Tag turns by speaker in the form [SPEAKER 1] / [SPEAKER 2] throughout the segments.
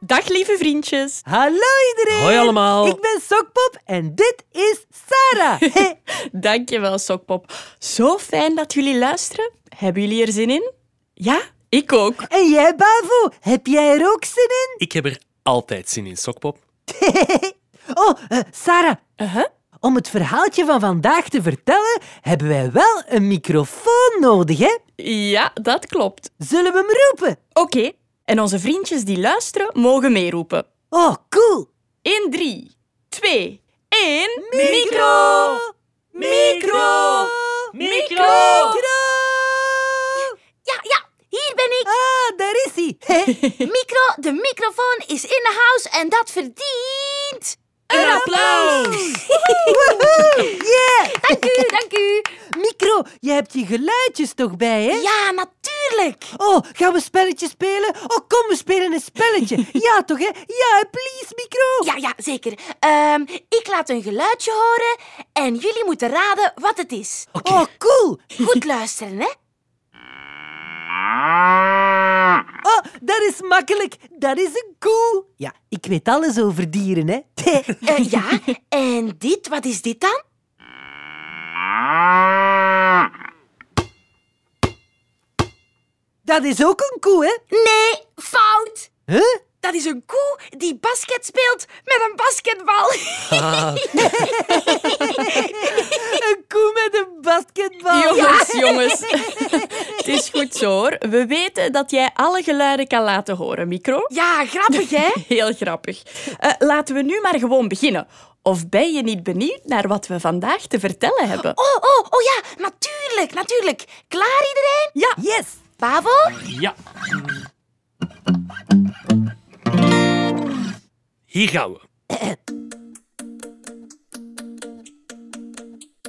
[SPEAKER 1] Dag lieve vriendjes.
[SPEAKER 2] Hallo iedereen!
[SPEAKER 3] Hoi allemaal.
[SPEAKER 2] Ik ben Sokpop en dit is Sarah. Hey.
[SPEAKER 1] Dankjewel, Sokpop. Zo fijn dat jullie luisteren. Hebben jullie er zin in? Ja, ik ook.
[SPEAKER 2] En jij, Bavo, heb jij er ook zin in?
[SPEAKER 3] Ik heb er altijd zin in, Sokpop.
[SPEAKER 2] Oh, eh, Sarah,
[SPEAKER 1] Uh-huh.
[SPEAKER 2] om het verhaaltje van vandaag te vertellen, hebben wij wel een microfoon nodig, hè?
[SPEAKER 1] Ja, dat klopt.
[SPEAKER 2] Zullen we hem roepen?
[SPEAKER 1] Oké, en onze vriendjes die luisteren mogen meeroepen.
[SPEAKER 2] Oh, cool!
[SPEAKER 1] In drie, twee, één...
[SPEAKER 2] Micro!
[SPEAKER 3] Micro!
[SPEAKER 4] Ja, ja, hier ben ik.
[SPEAKER 2] Ah, daar is hij! Hey.
[SPEAKER 4] Micro, de microfoon is in de house en dat verdient.
[SPEAKER 1] Een applaus!
[SPEAKER 2] Woehoe. Yeah!
[SPEAKER 4] Dank u, dank u.
[SPEAKER 2] Micro, je hebt je geluidjes toch bij, hè?
[SPEAKER 4] Ja, natuurlijk.
[SPEAKER 2] Oh, gaan we een spelletje spelen? Oh, kom, we spelen een spelletje. Ja, toch, hè? Ja, please, micro.
[SPEAKER 4] Ja, ja, zeker. Ehm, ik laat een geluidje horen en jullie moeten raden wat het is.
[SPEAKER 2] Oh, cool.
[SPEAKER 4] Goed luisteren, hè?
[SPEAKER 2] Oh, dat is makkelijk. Dat is een koe. Ja, ik weet alles over dieren, hè?
[SPEAKER 4] Eh, ja, en dit, wat is dit dan?
[SPEAKER 2] Dat is ook een koe, hè?
[SPEAKER 4] Nee, fout.
[SPEAKER 2] Huh?
[SPEAKER 4] Dat is een koe die basket speelt met een basketbal.
[SPEAKER 3] Ah,
[SPEAKER 2] Een koe met een basketbal.
[SPEAKER 1] Jongens, jongens. Het is goed zo hoor. We weten dat jij alle geluiden kan laten horen, micro.
[SPEAKER 4] Ja, grappig, hè?
[SPEAKER 1] Heel grappig. Eh, laten we nu maar gewoon beginnen. Of ben je niet benieuwd naar wat we vandaag te vertellen hebben?
[SPEAKER 4] Oh, oh, oh ja, natuurlijk, natuurlijk. Klaar iedereen?
[SPEAKER 1] Ja,
[SPEAKER 2] Yes.
[SPEAKER 4] Pavel?
[SPEAKER 3] ja. Hier gaan we.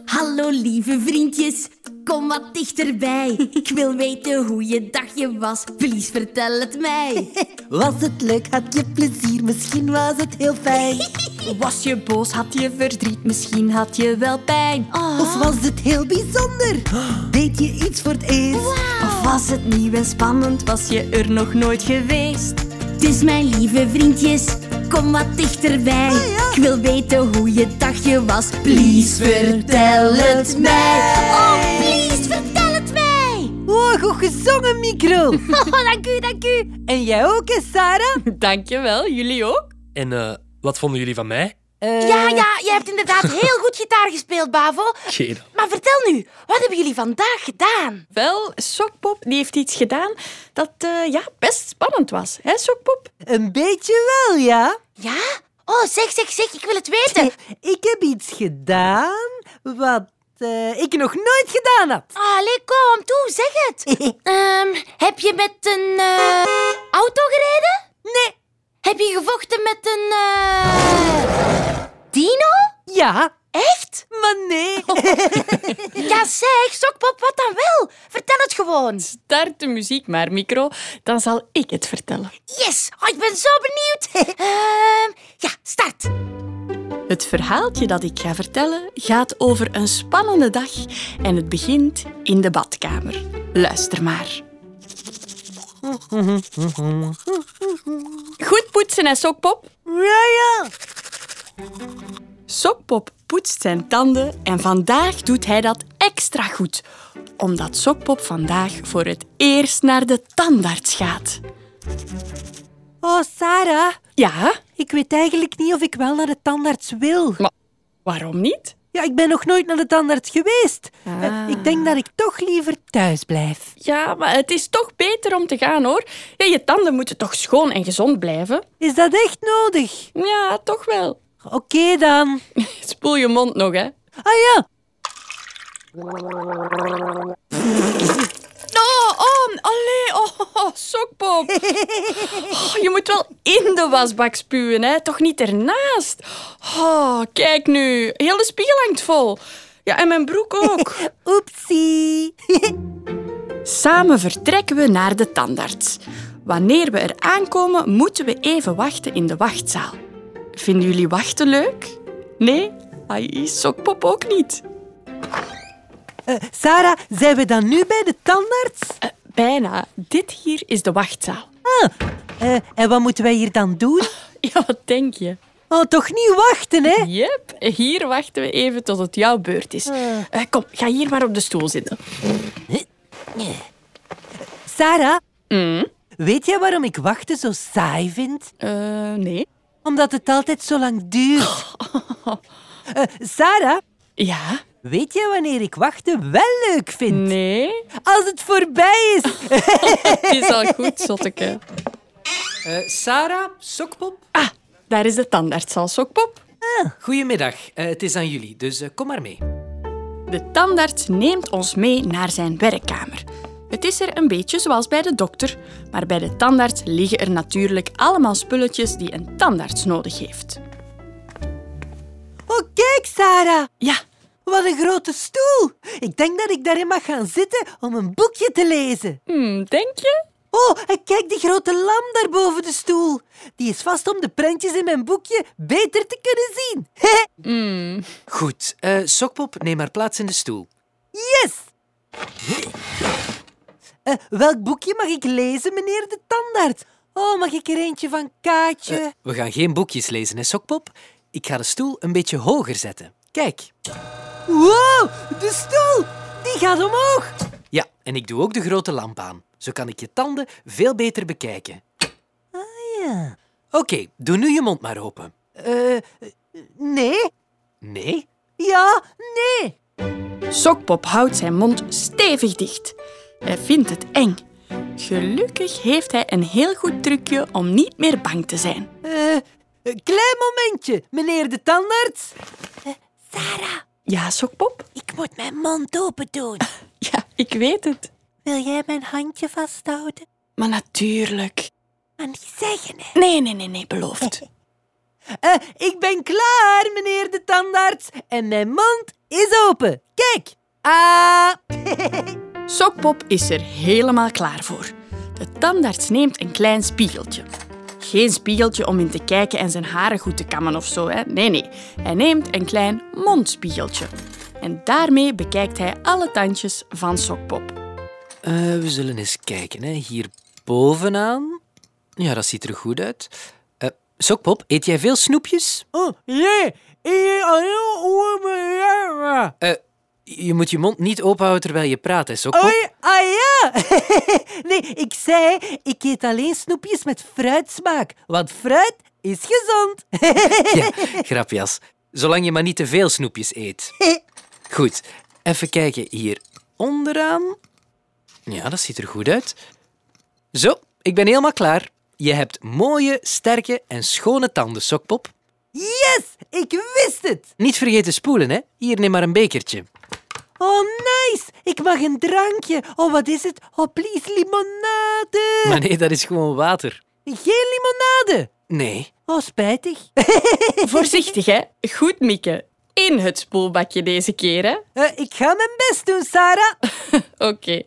[SPEAKER 5] Hallo lieve vriendjes, kom wat dichterbij. Ik wil weten hoe je dagje was, please vertel het mij.
[SPEAKER 2] Was het leuk? Had je plezier? Misschien was het heel fijn.
[SPEAKER 5] Was je boos, had je verdriet, misschien had je wel pijn.
[SPEAKER 2] Of was het heel bijzonder? Deed je iets voor het eerst?
[SPEAKER 5] Of was het nieuw en spannend, was je er nog nooit geweest? Dus mijn lieve vriendjes, kom wat dichterbij. Ik wil weten hoe je dagje was, please vertel het mij.
[SPEAKER 4] Oh, please, vertel het mij.
[SPEAKER 2] Oh, goed gezongen, micro.
[SPEAKER 4] Oh, dank u, dank u.
[SPEAKER 2] en jij ook, hè, Sarah?
[SPEAKER 1] dankjewel. Jullie ook?
[SPEAKER 3] En eh, wat vonden jullie van mij?
[SPEAKER 2] Eh,
[SPEAKER 4] Ja, ja, jij hebt inderdaad heel goed gitaar gespeeld, Bavo.
[SPEAKER 3] Geen.
[SPEAKER 4] Maar vertel nu, wat hebben jullie vandaag gedaan?
[SPEAKER 1] Wel, Sokpop die heeft iets gedaan dat eh, ja, best spannend was. Hè, Sokpop?
[SPEAKER 2] Een beetje wel, ja. Eh,
[SPEAKER 4] Ja? Oh, zeg, zeg, zeg, ik wil het weten.
[SPEAKER 2] Ik heb iets gedaan wat eh, ik nog nooit gedaan had.
[SPEAKER 4] Allee, kom, toe, zeg het. Ehm, heb je met een eh, auto gereden?
[SPEAKER 2] Nee.
[SPEAKER 4] Heb je gevochten met een... eh, dino?
[SPEAKER 2] Ja,
[SPEAKER 4] Echt? Oh.
[SPEAKER 2] maar nee.
[SPEAKER 4] Ja, zeg, Sokpop, wat dan wel? Vertel het gewoon.
[SPEAKER 1] Start de muziek maar, micro. Dan zal ik het vertellen.
[SPEAKER 4] Yes, oh, ik ben zo benieuwd. Ehm, ja, start.
[SPEAKER 1] Het verhaaltje dat ik ga vertellen gaat over een spannende dag en het begint in de badkamer. Luister maar. Goed poetsen, hè, Sokpop?
[SPEAKER 2] Ja, ja.
[SPEAKER 1] Sokpop poetst zijn tanden en vandaag doet hij dat extra goed, omdat Sokpop vandaag voor het eerst naar de tandarts gaat.
[SPEAKER 2] Oh, Sarah,
[SPEAKER 1] Ja,
[SPEAKER 2] ik weet eigenlijk niet of ik wel naar de tandarts wil.
[SPEAKER 1] waarom niet?
[SPEAKER 2] Ja, ik ben nog nooit naar de tandarts geweest.
[SPEAKER 4] Ah.
[SPEAKER 2] Eh, ik denk dat ik toch liever thuis blijf.
[SPEAKER 1] Ja, maar het is toch beter om te gaan hoor. Ja, je tanden moeten toch schoon en gezond blijven?
[SPEAKER 2] Is dat echt nodig?
[SPEAKER 1] Ja, toch wel.
[SPEAKER 2] Oké dan.
[SPEAKER 1] Spoel je mond nog, hè?
[SPEAKER 2] Ah ja,
[SPEAKER 1] Oh, oh, allee, oh, sokpop. Oh, je moet wel in de wasbak spuwen, hè? toch niet ernaast. Oh, kijk nu, heel de spiegel hangt vol. Ja, en mijn broek ook.
[SPEAKER 2] oepsie.
[SPEAKER 1] Samen vertrekken we naar de tandarts. Wanneer we er aankomen, moeten we even wachten in de wachtzaal. Vinden jullie wachten leuk? Nee? Ai, sokpop ook niet.
[SPEAKER 2] Eh, Sarah, zijn we dan nu bij de tandarts?
[SPEAKER 1] Bijna. Dit hier is de wachtzaal.
[SPEAKER 2] Eh, en wat moeten wij hier dan doen?
[SPEAKER 1] Ja, wat denk je?
[SPEAKER 2] Oh, toch niet wachten, hè?
[SPEAKER 1] Jep, hier wachten we even tot het jouw beurt is. Eh, kom, ga hier maar op de stoel zitten.
[SPEAKER 2] Sarah? Weet jij waarom ik wachten zo saai vind?
[SPEAKER 1] Eh, nee.
[SPEAKER 2] Omdat het altijd zo lang duurt. Eh, Sarah,
[SPEAKER 1] Ja.
[SPEAKER 2] weet jij wanneer ik wachten wel leuk vind?
[SPEAKER 1] Nee.
[SPEAKER 2] Als het voorbij is.
[SPEAKER 1] Het is al goed, zotteke.
[SPEAKER 6] Eh, Sarah, Sokpop,
[SPEAKER 1] Ah, daar is de tandarts al, Sokpop.
[SPEAKER 6] goedemiddag. Eh, het is aan jullie, dus eh, kom maar mee.
[SPEAKER 1] De tandarts neemt ons mee naar zijn werkkamer. Het is er een beetje zoals bij de dokter, maar bij de tandarts liggen er natuurlijk allemaal spulletjes die een tandarts nodig heeft.
[SPEAKER 2] Oh, kijk, Sarah.
[SPEAKER 1] Ja,
[SPEAKER 2] Wat een grote stoel. Ik denk dat ik daarin mag gaan zitten om een boekje te lezen.
[SPEAKER 1] hmm, denk je?
[SPEAKER 2] Oh, en kijk die grote lamp daar boven de stoel. Die is vast om de prentjes in mijn boekje beter te kunnen zien.
[SPEAKER 6] Goed, eh, Sokpop, neem maar plaats in de stoel.
[SPEAKER 2] Yes! Eh, welk boekje mag ik lezen, meneer de tandarts? Oh, mag ik er eentje van Kaatje?
[SPEAKER 6] Eh, We gaan geen boekjes lezen, hè, Sokpop? Ik ga de stoel een beetje hoger zetten. Kijk.
[SPEAKER 2] Wow, de stoel! Die gaat omhoog!
[SPEAKER 6] Ja, en ik doe ook de grote lamp aan. Zo kan ik je tanden veel beter bekijken.
[SPEAKER 2] Ah, Ja.
[SPEAKER 6] Oké, doe nu je mond maar open.
[SPEAKER 2] Eh, nee.
[SPEAKER 6] Nee?
[SPEAKER 2] Ja, nee.
[SPEAKER 1] Sokpop houdt zijn mond stevig dicht. Hij vindt het eng. Gelukkig heeft hij een heel goed trucje om niet meer bang te zijn.
[SPEAKER 2] Eh, een klein momentje, meneer de tandarts.
[SPEAKER 1] Ja, Sokpop?
[SPEAKER 2] Ik moet mijn mond open doen.
[SPEAKER 1] Ja, ik weet het.
[SPEAKER 2] Wil jij mijn handje vasthouden?
[SPEAKER 1] Maar natuurlijk.
[SPEAKER 2] Maar niet zeggen, hè.
[SPEAKER 1] Nee, nee, nee, nee, beloofd.
[SPEAKER 2] Eh, ik ben klaar, meneer de tandarts. En mijn mond is open. Kijk. Ah.
[SPEAKER 1] Sokpop is er helemaal klaar voor. De tandarts neemt een klein spiegeltje. Geen spiegeltje om in te kijken en zijn haren goed te kammen of zo, hè. Nee, nee. Hij neemt een klein mondspiegeltje. En daarmee bekijkt hij alle tandjes van Sokpop.
[SPEAKER 6] Eh, we zullen eens kijken, hè. Hier bovenaan. Ja, dat ziet er goed uit. Eh, Sokpop, eet jij veel snoepjes?
[SPEAKER 2] Oh, jee. Ik alleen over
[SPEAKER 6] Eh, oh. je moet je mond niet openhouden terwijl je praat, hè, Sokpop?
[SPEAKER 2] Oei, ah ja! nee, ik zei, ik eet alleen snoepjes met fruitsmaak. Want fruit is gezond.
[SPEAKER 6] Ja, grapjas. Zolang je maar niet te veel snoepjes eet. Goed, even kijken hier onderaan. Ja, dat ziet er goed uit. Zo, ik ben helemaal klaar. Je hebt mooie, sterke en schone tanden, Sokpop.
[SPEAKER 2] yes, ik wist het.
[SPEAKER 6] Niet vergeten spoelen, hè. Hier, neem maar een bekertje.
[SPEAKER 2] Oh, nice. Ik mag een drankje. Oh, wat is het? Oh, please, limonade.
[SPEAKER 6] Maar nee, dat is gewoon water.
[SPEAKER 2] Geen limonade.
[SPEAKER 6] Nee.
[SPEAKER 2] Oh, spijtig.
[SPEAKER 1] Voorzichtig, hè. Goed mikken. In het spoelbakje deze keer, hè.
[SPEAKER 2] Eh, ik ga mijn best doen, Sarah.
[SPEAKER 1] Oké.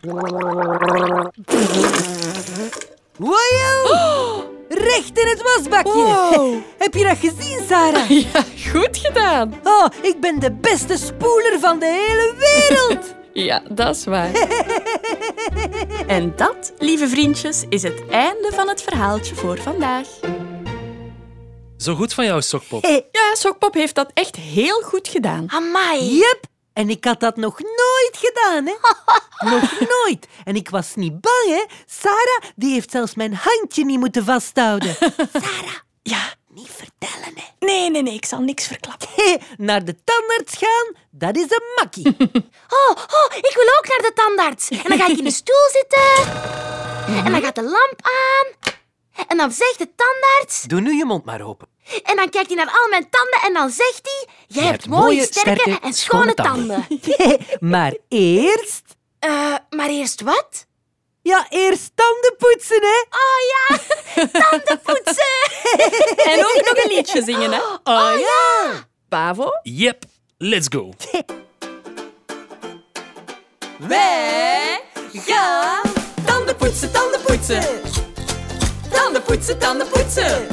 [SPEAKER 2] Wojo. Recht in het wasbakje.
[SPEAKER 1] Wow.
[SPEAKER 2] Heb je dat gezien, Sarah?
[SPEAKER 1] Ja, goed gedaan.
[SPEAKER 2] Oh, ik ben de beste spoeler van de hele wereld.
[SPEAKER 1] Ja, dat is waar. En dat, lieve vriendjes, is het einde van het verhaaltje voor vandaag.
[SPEAKER 3] Zo goed van jou, Sokpop.
[SPEAKER 1] Ja, Sokpop heeft dat echt heel goed gedaan.
[SPEAKER 4] Amai.
[SPEAKER 2] Jep, en ik had dat nog nooit gedaan, hè? nog nooit. En ik was niet bang, hè? Sarah, die heeft zelfs mijn handje niet moeten vasthouden.
[SPEAKER 1] Ja.
[SPEAKER 2] niet vertellen, hè?
[SPEAKER 1] Nee, nee, nee, ik zal niks verklappen.
[SPEAKER 2] Naar de tandarts gaan, dat is een makkie.
[SPEAKER 4] Oh, oh, ik wil ook naar de tandarts. En dan ga ik in de stoel zitten. En dan gaat de lamp aan. En dan zegt de tandarts.
[SPEAKER 6] Doe nu je mond maar open.
[SPEAKER 4] En dan kijkt hij naar al mijn tanden en dan zegt hij... Jij hebt mooie, sterke, en schone tanden.
[SPEAKER 2] maar eerst...
[SPEAKER 4] Eh, maar eerst wat?
[SPEAKER 2] Ja, eerst tanden poetsen, hè?
[SPEAKER 4] Oh ja, tanden poetsen.
[SPEAKER 1] En ook nog een liedje zingen, hè?
[SPEAKER 2] Oh ja!
[SPEAKER 1] Pavo?
[SPEAKER 3] Yep, let's go.
[SPEAKER 2] Wij gaan tanden poetsen, tanden poetsen. Tanden poetsen, tanden poetsen.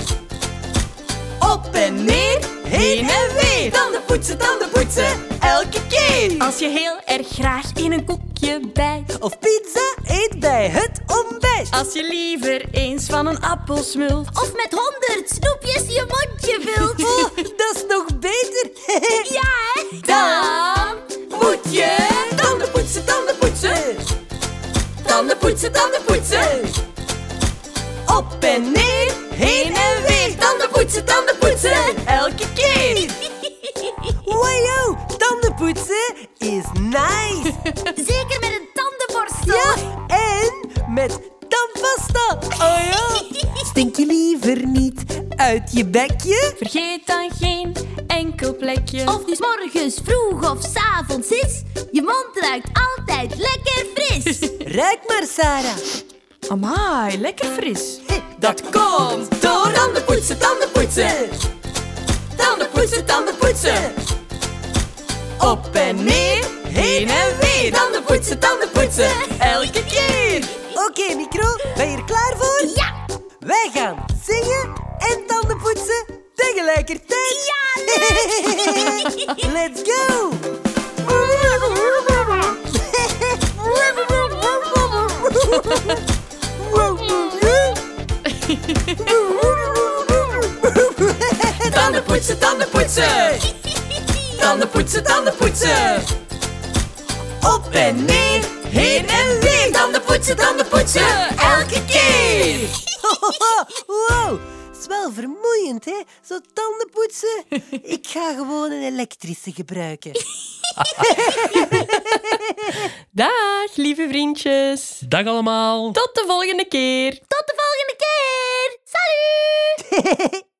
[SPEAKER 2] Op en neer,
[SPEAKER 5] Heen en weer. Tanden poetsen, tanden poetsen, elke keer. Als je heel erg graag in een koekje bijt.
[SPEAKER 2] Of pizza eet bij het ontbijt.
[SPEAKER 5] Als je liever eens van een appel smult.
[SPEAKER 4] Of met honderd snoepjes je mondje vult.
[SPEAKER 2] Oh, dat is nog beter.
[SPEAKER 4] Ja, hè?
[SPEAKER 5] Dan moet je tanden poetsen, tanden poetsen. Tanden poetsen, tanden poetsen. Op en neer, heen en weer. Tanden poetsen, tanden poetsen. Elke keer.
[SPEAKER 2] Wajo, oh. tanden poetsen is nice.
[SPEAKER 4] Zeker met een tandenborstel.
[SPEAKER 2] Ja, en met tandpasta. Oh ja. Stink je liever niet uit je bekje?
[SPEAKER 5] Vergeet dan geen enkel plekje.
[SPEAKER 4] Of dus morgens vroeg of s'avonds is. Je mond ruikt altijd lekker fris.
[SPEAKER 2] Ruik maar, Sarah.
[SPEAKER 1] Amai, lekker fris.
[SPEAKER 5] dat komt door tanden poetsen, tanden poetsen. Tanden poetsen, tanden poetsen. Op en neer, heen en weer. Tanden poetsen, tanden poetsen. Elke keer.
[SPEAKER 2] Oké, micro, ben je er klaar voor?
[SPEAKER 4] Ja.
[SPEAKER 2] Wij gaan zingen en tanden poetsen tegelijkertijd.
[SPEAKER 4] Ja, leuk.
[SPEAKER 2] Let's go!
[SPEAKER 5] Tanden poetsen, tanden poetsen. Tanden poetsen, tanden poetsen. Op en neer, heen en weer. Tanden poetsen, tanden poetsen. Elke keer.
[SPEAKER 2] wow, is wel vermoeiend, hè? Zo tanden poetsen. Ik ga gewoon een elektrische gebruiken.
[SPEAKER 7] Dag, lieve vriendjes.
[SPEAKER 3] Dag allemaal.
[SPEAKER 7] Tot de volgende keer.
[SPEAKER 4] Tot de volgende keer. Salut.